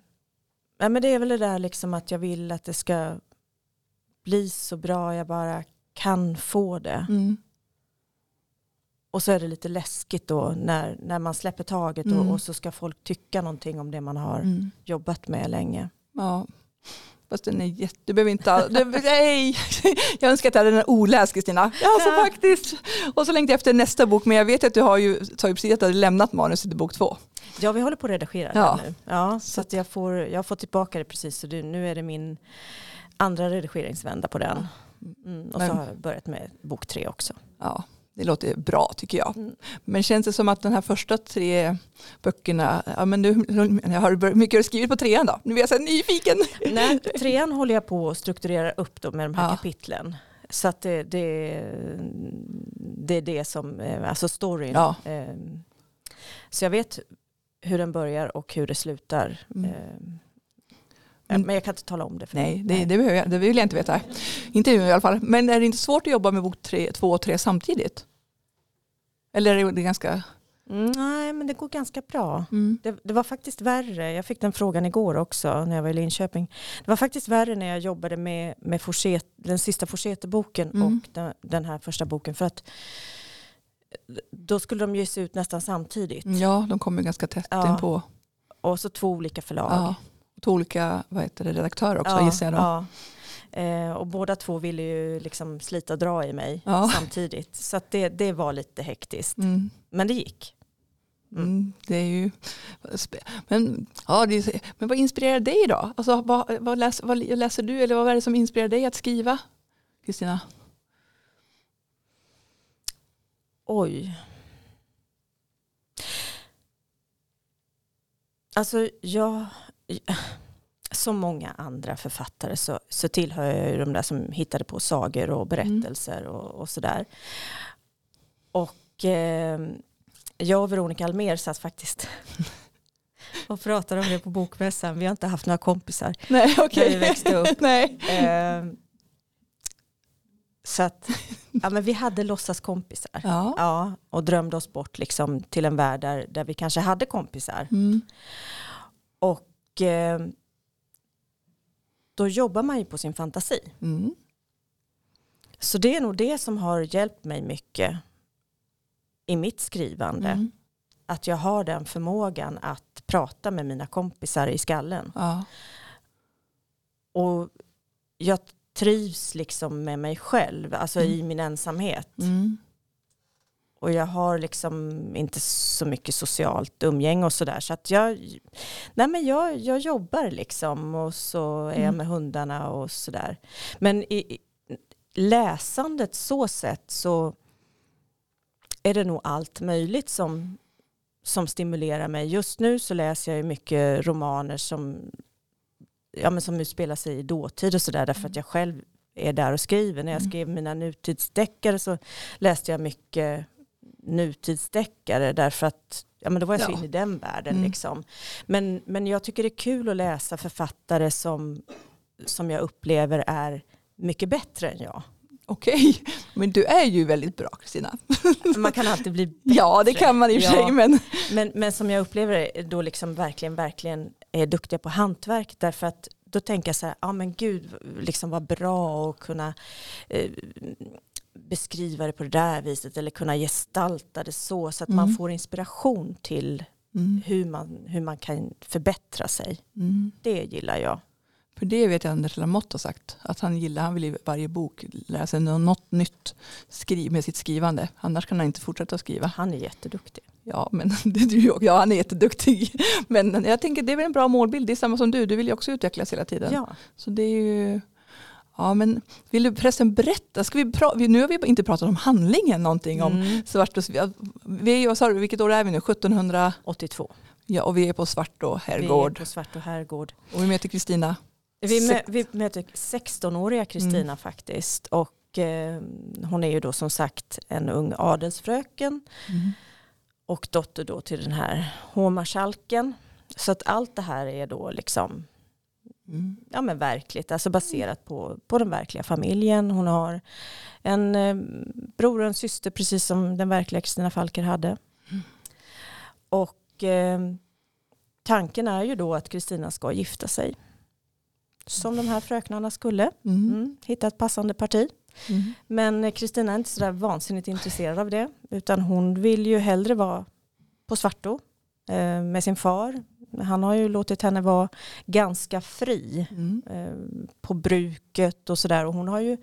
Speaker 3: nej, men det är väl det där liksom att jag vill att det ska bli så bra jag bara kan få det.
Speaker 1: Mm.
Speaker 3: Och så är det lite läskigt då när, när man släpper taget
Speaker 1: Mm.
Speaker 3: och, och så ska folk tycka någonting om det man har
Speaker 1: Mm.
Speaker 3: jobbat med länge.
Speaker 1: Ja. Fast den är jätte... Du behöver inte... all- Du, nej! Jag önskar att jag hade den oläst Kristina. Alltså
Speaker 3: Ja.
Speaker 1: faktiskt. Och så längtar jag efter nästa bok. Men jag vet att du har ju sa ju precis att du hade lämnat manuset till bok två.
Speaker 3: Ja, vi håller på att redigera
Speaker 1: Ja.
Speaker 3: den nu. Ja, så att jag, får, jag får tillbaka det precis. Så det, nu är det min andra redigeringsvända på den. Mm, och
Speaker 1: Men-
Speaker 3: så har jag börjat med bok tre också.
Speaker 1: Ja, det låter bra tycker jag.
Speaker 3: Mm.
Speaker 1: Men känns det som att de här första tre böckerna, ja, men nu, jag har hur mycket har du skrivit på trean då? Nu är jag så här nyfiken.
Speaker 3: Nej, trean håller jag på att strukturera upp då med de här
Speaker 1: Ja.
Speaker 3: kapitlen. Så att det, det, det är det som, eh, alltså storyn.
Speaker 1: Ja.
Speaker 3: Eh, Så jag vet hur den börjar och hur det slutar.
Speaker 1: Mm.
Speaker 3: Eh,
Speaker 1: Men-
Speaker 3: Men jag kan inte tala om det. För
Speaker 1: Nej, det, det, behöver jag, det vill jag inte veta. Inte nu i alla fall. Men är det inte svårt att jobba med bok tre, två och tre samtidigt? Eller är det ganska...
Speaker 3: Mm, Nej, men det går ganska bra.
Speaker 1: Mm.
Speaker 3: Det, det var faktiskt värre, jag fick den frågan igår också när jag var i Linköping. Det var faktiskt värre när jag jobbade med, med Forsett, den sista Forsete-boken
Speaker 1: Mm.
Speaker 3: och den, den här första boken. För att då skulle de ges ut nästan samtidigt.
Speaker 1: Ja, de kommer ganska tätt
Speaker 3: Ja.
Speaker 1: inpå.
Speaker 3: Och så två olika förlag.
Speaker 1: Ja. Två olika vad heter det, redaktörer också
Speaker 3: Ja,
Speaker 1: gissar jag då.
Speaker 3: ja. Eh, och båda två ville ju liksom slita och dra i mig
Speaker 1: Ja.
Speaker 3: samtidigt. Så att det, det var lite hektiskt.
Speaker 1: Mm.
Speaker 3: Men det gick. Mm.
Speaker 1: Mm, det är ju... spe- Men, ja, det är, så- men vad inspirerar dig då? Alltså, vad, vad, läs, vad läser du eller vad är det som inspirerar dig att skriva? Kristina?
Speaker 3: Oj. Alltså jag, som många andra författare så, så tillhör jag ju de där som hittade på sagor och berättelser och, och sådär. Och eh, jag och Veronica Almér satt faktiskt och pratade om det på bokmässan. Vi har inte haft några kompisar
Speaker 1: Nej,
Speaker 3: när
Speaker 1: okej.
Speaker 3: vi växte upp.
Speaker 1: Nej.
Speaker 3: Eh, så att, ja men vi hade låtsas kompisar.
Speaker 1: Ja.
Speaker 3: Ja, och drömde oss bort liksom till en värld där, där vi kanske hade kompisar.
Speaker 1: Mm.
Speaker 3: Och, eh, då jobbar man ju på sin fantasi.
Speaker 1: Mm.
Speaker 3: Så det är nog det som har hjälpt mig mycket i mitt skrivande.
Speaker 1: Mm.
Speaker 3: Att jag har den förmågan att prata med mina kompisar i skallen.
Speaker 1: Ja.
Speaker 3: Och jag trivs liksom med mig själv, alltså i min ensamhet.
Speaker 1: Mm.
Speaker 3: Och jag har liksom inte så mycket socialt umgänge och sådär. Så att jag, nej men jag, jag jobbar liksom och så är jag med hundarna och sådär. Men i, i läsandet så sett så är det nog allt möjligt som, som stimulerar mig. Just nu så läser jag ju mycket romaner som, ja men som utspelar sig i dåtid och sådär. Därför att jag själv är där och skriver. När jag
Speaker 1: Mm.
Speaker 3: skrev mina nutidsdeckare så läste jag mycket nutidsdeckare därför att ja, men då var jag så
Speaker 1: Ja.
Speaker 3: inne i den världen.
Speaker 1: Mm.
Speaker 3: Liksom. Men, men jag tycker det är kul att läsa författare som, som jag upplever är mycket bättre än jag.
Speaker 1: Okej, men du är ju väldigt bra Kristina.
Speaker 3: Man kan alltid bli bättre.
Speaker 1: Ja, det kan man i och för sig.
Speaker 3: Ja.
Speaker 1: Men,
Speaker 3: Men, men som jag upplever det, då liksom verkligen, verkligen är duktiga på hantverk därför att då tänker jag så här, ja men gud, liksom vad bra att kunna eh, beskriva det på det där viset eller kunna gestalta det så så att man
Speaker 1: Mm.
Speaker 3: får inspiration till
Speaker 1: mm.
Speaker 3: hur man, hur man kan förbättra sig.
Speaker 1: Mm.
Speaker 3: Det gillar jag.
Speaker 1: För det vet jag Anders Lamotte har sagt. Att han gillar, han vill i varje bok lära sig nå- något nytt skri- med sitt skrivande. Annars kan han inte fortsätta skriva.
Speaker 3: Han är jätteduktig.
Speaker 1: Ja, men det är du och ja, han är jätteduktig. Men jag tänker det är väl en bra målbild. Det är samma som du, du vill ju också utvecklas hela tiden.
Speaker 3: Ja.
Speaker 1: Så det är ju... Ja, men vill du förresten berätta? Ska vi pra- vi- nu har vi inte pratat om handlingen någonting. Om
Speaker 3: Mm.
Speaker 1: svart och, ja, vi är, ju- vad sa du, vilket år är vi nu? 1700?
Speaker 3: 82.
Speaker 1: Ja, och vi är på Svartå
Speaker 3: Vi är
Speaker 1: herrgård.
Speaker 3: på Svartå herrgård.
Speaker 1: Och vi möter Kristina.
Speaker 3: Vi, mö,
Speaker 1: Sex-
Speaker 3: vi möter 16-åriga Kristina faktiskt. Och eh, hon är ju då som sagt en ung adelsfröken
Speaker 1: Mm.
Speaker 3: och dotter då till den här hovmarskalken. Så att allt det här är då liksom
Speaker 1: Mm.
Speaker 3: ja, men verkligt, alltså baserat på, på den verkliga familjen. Hon har en eh, bror och en syster precis som den verkliga Kristina Falker hade. Och eh, tanken är ju då att Kristina ska gifta sig. Som de här fröknarna skulle.
Speaker 1: Mm.
Speaker 3: Mm, hitta ett passande parti.
Speaker 1: Mm.
Speaker 3: Men eh, Kristina är inte sådär vansinnigt intresserad av det. Utan hon vill ju hellre vara på Svartå eh, med sin far. Han har ju låtit henne vara ganska fri
Speaker 1: Mm.
Speaker 3: eh, på bruket och sådär. Och hon har ju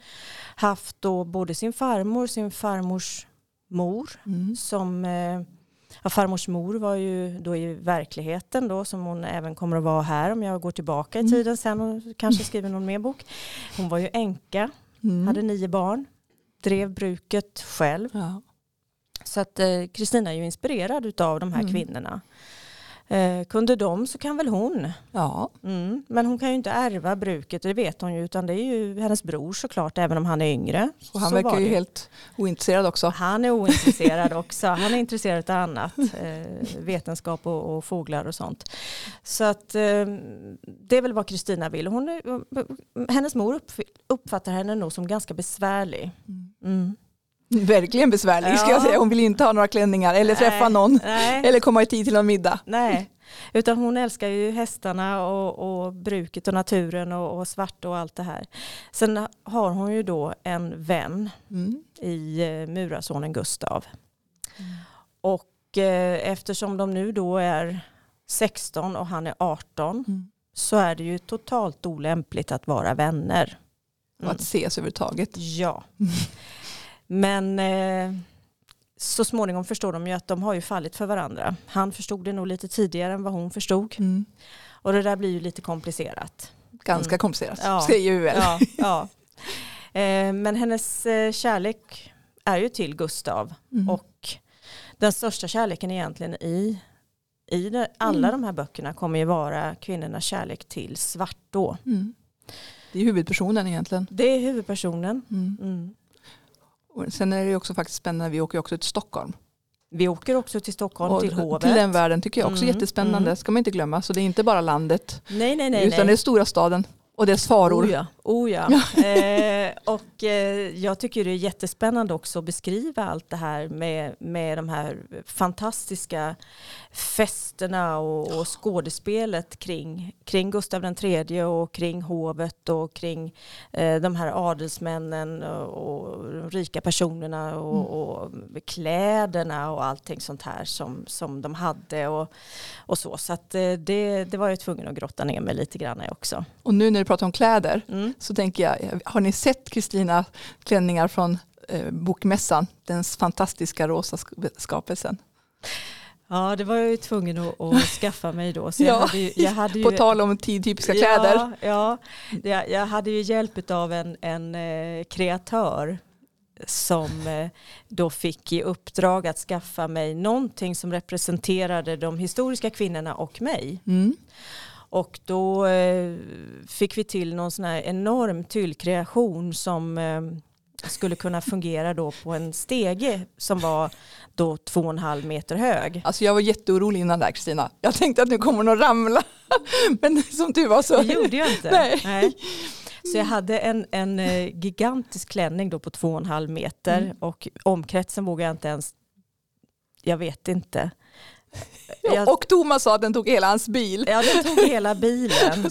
Speaker 3: haft då både sin farmor, sin farmors mor
Speaker 1: Mm.
Speaker 3: som eh, ja, farmors mor var ju då i verkligheten då som hon även kommer att vara här om jag går tillbaka i
Speaker 1: Mm.
Speaker 3: tiden sen och kanske skriver någon mer bok. Hon var ju änka,
Speaker 1: Mm.
Speaker 3: hade nio barn, drev bruket själv.
Speaker 1: Ja.
Speaker 3: Så att eh, Kristina är ju inspirerad utav de här
Speaker 1: Mm.
Speaker 3: kvinnorna. Eh, kunde de så kan väl hon.
Speaker 1: ja.
Speaker 3: Mm, men hon kan ju inte ärva bruket, och det vet hon ju, utan det är ju hennes bror såklart, även om han är yngre.
Speaker 1: Och han
Speaker 3: Så var
Speaker 1: verkar ju
Speaker 3: det.
Speaker 1: helt ointresserad också.
Speaker 3: Han är ointresserad också, han är intresserad av annat, eh, vetenskap och, och fåglar och sånt. Så att eh, det är väl vad Kristina vill. Hon är, hennes mor uppf- uppfattar henne nog som ganska besvärlig. Mm.
Speaker 1: Verkligen besvärlig ska jag
Speaker 3: Ja.
Speaker 1: säga. Hon vill inte ha några klänningar eller träffa
Speaker 3: Nej,
Speaker 1: någon.
Speaker 3: Nej.
Speaker 1: Eller komma i tid till någon middag.
Speaker 3: Nej, utan hon älskar ju hästarna och, och bruket och naturen och, och svart och allt det här. Sen har hon ju då en vän
Speaker 1: Mm.
Speaker 3: i eh, murarsonen Gustav. Och eh, eftersom de nu då är 16 och han är 18
Speaker 1: Mm.
Speaker 3: så är det ju totalt olämpligt att vara vänner.
Speaker 1: Och att ses överhuvudtaget.
Speaker 3: Ja. Men eh, så småningom förstår de ju att de har ju fallit för varandra. Han förstod det nog lite tidigare än vad hon förstod.
Speaker 1: Mm.
Speaker 3: Och det där blir ju lite komplicerat.
Speaker 1: Ganska
Speaker 3: Mm.
Speaker 1: komplicerat,
Speaker 3: Ja.
Speaker 1: säger vi väl.
Speaker 3: Ja, ja. Eh, men hennes eh, kärlek är ju till Gustav.
Speaker 1: Mm.
Speaker 3: Och den största kärleken egentligen i, i de- alla
Speaker 1: Mm.
Speaker 3: de här böckerna kommer ju vara kvinnornas kärlek till Svartå.
Speaker 1: Mm. Det är huvudpersonen egentligen.
Speaker 3: Det är huvudpersonen.
Speaker 1: Mm.
Speaker 3: Mm.
Speaker 1: Och sen är det ju också faktiskt spännande, vi åker ju också till Stockholm.
Speaker 3: Vi åker också till Stockholm,
Speaker 1: Och
Speaker 3: till hovet.
Speaker 1: till den världen tycker jag också
Speaker 3: Mm,
Speaker 1: jättespännande,
Speaker 3: mm.
Speaker 1: ska man inte glömma. Så det är inte bara landet,
Speaker 3: nej, nej, nej.
Speaker 1: utan
Speaker 3: nej.
Speaker 1: det är stora staden och dess faror.
Speaker 3: Oh ja. Oh ja. eh, och eh, jag tycker det är jättespännande också att beskriva allt det här med, med de här fantastiska festerna och, och skådespelet kring, kring Gustav III och kring hovet och kring eh, de här adelsmännen och, och de rika personerna och, och kläderna och allting sånt här som, som de hade och, och så. Så att, eh, det, det var jag tvungen att grotta ner mig lite grann i också.
Speaker 1: Och nu när du pratar om kläder
Speaker 3: Mm.
Speaker 1: så tänker jag, har ni sett Kristina klänningar från eh, bokmässan? Den fantastiska rosa sk- skapelsen.
Speaker 3: Ja, det var jag ju tvungen att, att skaffa mig då. Så jag
Speaker 1: Ja,
Speaker 3: hade ju, jag hade ju,
Speaker 1: På tal om tidtypiska kläder.
Speaker 3: Ja, ja jag, jag hade ju hjälp av en, en eh, kreatör som eh, då fick i uppdrag att skaffa mig någonting som representerade de historiska kvinnorna och mig.
Speaker 1: Mm.
Speaker 3: Och då eh, fick vi till någon sån här enorm tyllkreation som eh, skulle kunna fungera då på en stege som var då två och en halv meter hög.
Speaker 1: Alltså jag var jätteorolig innan där Kristina. Jag tänkte att nu kommer hon att ramla. Men som du var så...
Speaker 3: Det gjorde jag inte.
Speaker 1: Nej.
Speaker 3: Så jag hade en, en eh, gigantisk klänning då på två och en halv meter
Speaker 1: Mm.
Speaker 3: och omkretsen vågar jag inte ens, jag vet inte.
Speaker 1: Ja, Och Thomas sa att den tog hela hans bil.
Speaker 3: ja, den tog hela bilen.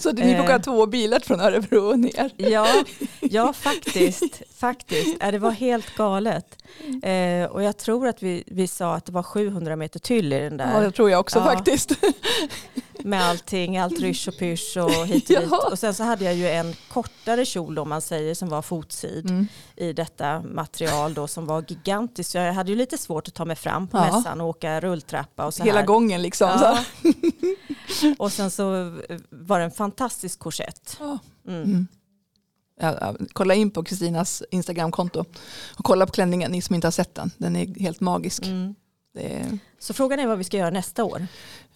Speaker 1: Så ni fick
Speaker 3: Eh,
Speaker 1: åka två bilar från Örebro och ner.
Speaker 3: Ja, ja faktiskt. faktiskt. Ja, det var helt galet. Eh, och jag tror att vi, vi sa att det var 700 meter tyll i den
Speaker 1: Ja,
Speaker 3: där.
Speaker 1: det tror jag också
Speaker 3: Ja.
Speaker 1: faktiskt.
Speaker 3: Med allting, allt rysch och pysch och hit och dit.
Speaker 1: Ja.
Speaker 3: Och sen så hade jag ju en kortare kjol om man säger som var fotsid.
Speaker 1: Mm.
Speaker 3: i detta material då som var gigantiskt. Så jag hade ju lite svårt att ta mig fram på
Speaker 1: Ja.
Speaker 3: mässan och åka rulltrappa och så
Speaker 1: Hela
Speaker 3: här.
Speaker 1: gången liksom. Så.
Speaker 3: Ja. Och sen så var det en fantastisk korsett.
Speaker 1: Ja.
Speaker 3: Mm.
Speaker 1: Mm. Ja, ja, kolla in på Kristinas Instagramkonto och kolla på klänningen, ni som inte har sett den. Den är helt magisk.
Speaker 3: Mm.
Speaker 1: Det är,
Speaker 3: Så frågan är vad vi ska göra nästa år.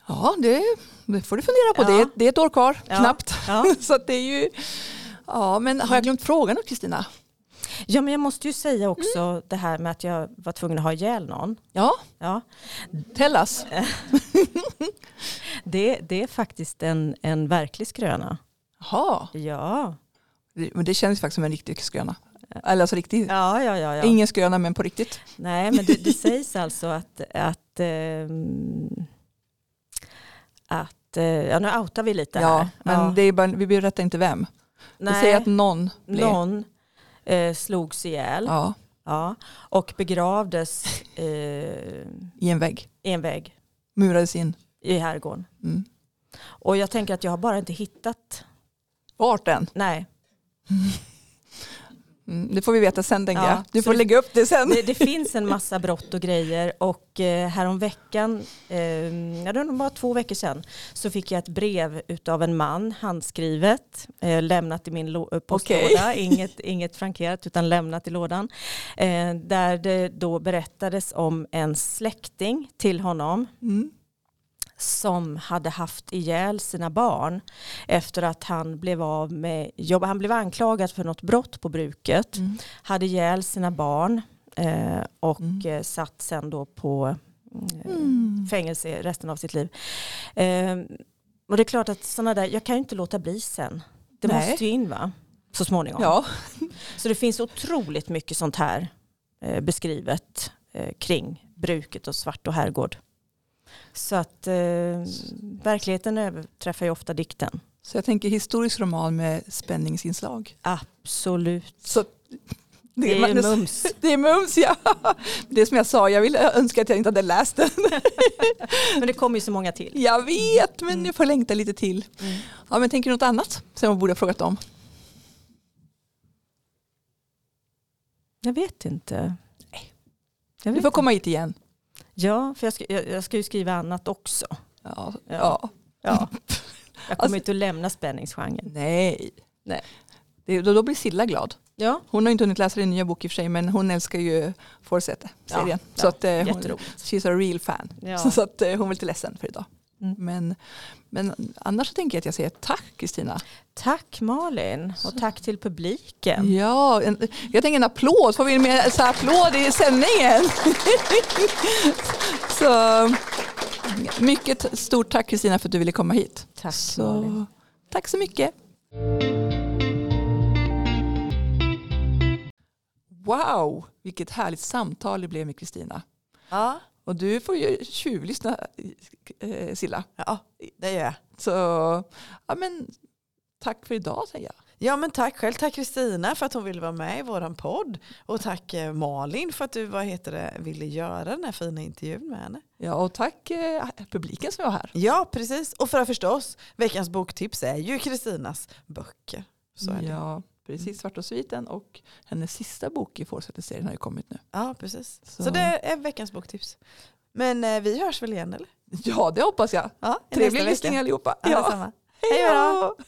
Speaker 1: ja, det, det får du fundera på.
Speaker 3: Ja.
Speaker 1: Det, är- det är ett år kvar,
Speaker 3: Ja.
Speaker 1: knappt.
Speaker 3: Ja.
Speaker 1: Så att det är ju... Ja, men har jag glömt frågan då Kristina?
Speaker 3: ja men jag måste ju säga också
Speaker 1: Mm.
Speaker 3: det här med att jag var tvungen att ha ihjäl någon.
Speaker 1: Ja,
Speaker 3: Ja,
Speaker 1: tell us.
Speaker 3: det, det är faktiskt en, en verklig skröna.
Speaker 1: Jaha,
Speaker 3: Ja,
Speaker 1: det- men det känns ju faktiskt som en riktig skröna. Eller alltså riktigt.
Speaker 3: ja, ja. ja, ja.
Speaker 1: Ingen skröna men på riktigt.
Speaker 3: Nej, men det, det sägs alltså att, att, ehm, att eh, ja, nu outar vi lite
Speaker 1: Ja,
Speaker 3: här.
Speaker 1: men Det är bara, vi berättar inte vem. Vi
Speaker 3: Nej,
Speaker 1: säger att någon blev.
Speaker 3: någon eh, slogs ihjäl ja.
Speaker 1: Ja,
Speaker 3: och begravdes eh,
Speaker 1: i en vägg.
Speaker 3: i en vägg
Speaker 1: Murades in.
Speaker 3: i herrgården.
Speaker 1: Mm.
Speaker 3: Och jag tänker att jag har bara inte hittat,
Speaker 1: Vart den?
Speaker 3: nej,
Speaker 1: Mm, det får vi veta sen tänker
Speaker 3: Ja,
Speaker 1: jag. Du
Speaker 3: så
Speaker 1: får
Speaker 3: det-
Speaker 1: lägga upp det sen.
Speaker 3: det, det finns en massa brott och grejer och eh, häromveckan, eh, ja, det var nog bara två veckor sedan, så fick jag ett brev utav en man, handskrivet, eh, lämnat i min lå- eh, postlåda, inget, inget frankerat utan lämnat i lådan, eh, där det då berättades om en släkting till honom
Speaker 1: Mm.
Speaker 3: som hade haft ihjäl sina barn efter att han blev av med jobb. Han blev anklagad för något brott på bruket
Speaker 1: Mm.
Speaker 3: hade ihjäl sina barn eh, och
Speaker 1: Mm.
Speaker 3: eh, satt sen då på eh, fängelse resten av sitt liv. Eh, och det är klart att sådana där, jag kan ju inte låta bli sen. Det
Speaker 1: Nej.
Speaker 3: måste ju in va? Så småningom.
Speaker 1: Ja.
Speaker 3: Så det finns otroligt mycket sånt här eh, beskrivet eh, kring bruket och svart och herrgård. Så att eh, verkligheten överträffar ju ofta dikten.
Speaker 1: Så jag tänker historisk roman med spänningsinslag.
Speaker 3: Absolut.
Speaker 1: Så
Speaker 3: Det är ju
Speaker 1: men-
Speaker 3: mums.
Speaker 1: Det är mums ja. Det är som jag sa, jag ville önska att jag inte hade läst den.
Speaker 3: Men det kommer ju så många till.
Speaker 1: Jag vet,
Speaker 3: Mm.
Speaker 1: men jag får längta lite till. Ja, men tänker du något annat som jag borde ha frågat om?
Speaker 3: Jag vet inte. Nej. Jag
Speaker 1: Du
Speaker 3: vet
Speaker 1: får komma hit igen.
Speaker 3: inte. Ja, för jag ska, jag, jag ska ju skriva annat också.
Speaker 1: Ja.
Speaker 3: Ja.
Speaker 1: Ja.
Speaker 3: Ja. Jag kommer
Speaker 1: Alltså-
Speaker 3: inte att lämna spänningsgenren.
Speaker 1: Nej.
Speaker 3: Nej.
Speaker 1: Det, då, då blir Silla glad.
Speaker 3: Ja,
Speaker 1: Hon har inte hunnit läsa din nya bok i och för sig men hon älskar ju Forsete-serien.
Speaker 3: Ja,
Speaker 1: så att, eh, hon,
Speaker 3: jätteroligt.
Speaker 1: she's a real fan.
Speaker 3: Ja.
Speaker 1: Så, så att, eh, hon var lite ledsen för idag.
Speaker 3: Mm.
Speaker 1: Men, men annars så tänker jag att jag säger tack Kristina.
Speaker 3: Tack Malin och tack till publiken.
Speaker 1: Ja, en, jag tänker en applåd. Får vi en mer så här applåd i sändningen? så, mycket t- stort tack Kristina för att du ville komma hit.
Speaker 3: Tack
Speaker 1: Så,
Speaker 3: Malin.
Speaker 1: tack så mycket. Wow, vilket härligt samtal det blev med Kristina.
Speaker 2: Ja,
Speaker 1: Och du får ju tjuvlyssna eh, Silla.
Speaker 2: ja, det gör jag.
Speaker 1: Så ja, men, tack för idag säger jag.
Speaker 2: Ja men tack själv. Tack Kristina för att hon ville vara med i våran podd. Och tack eh, Malin för att du vad heter det, ville göra den här fina intervjun med henne.
Speaker 1: Ja, och tack eh, publiken som var här.
Speaker 2: Ja precis. Och för att förstås, veckans boktips är ju Kristinas böcker. Så är det.
Speaker 1: Ja, Mm. precis. Svart och sviten och hennes sista bok i Forsätter-serien har ju kommit nu.
Speaker 2: Ja precis. Så.
Speaker 1: Så
Speaker 2: det är veckans boktips. Men eh, vi hörs väl igen eller?
Speaker 1: Ja, det hoppas jag.
Speaker 2: Ja,
Speaker 1: Trevlig lyssning allihopa.
Speaker 2: Ja, detsamma. Hej
Speaker 1: Hej
Speaker 2: då.
Speaker 1: då!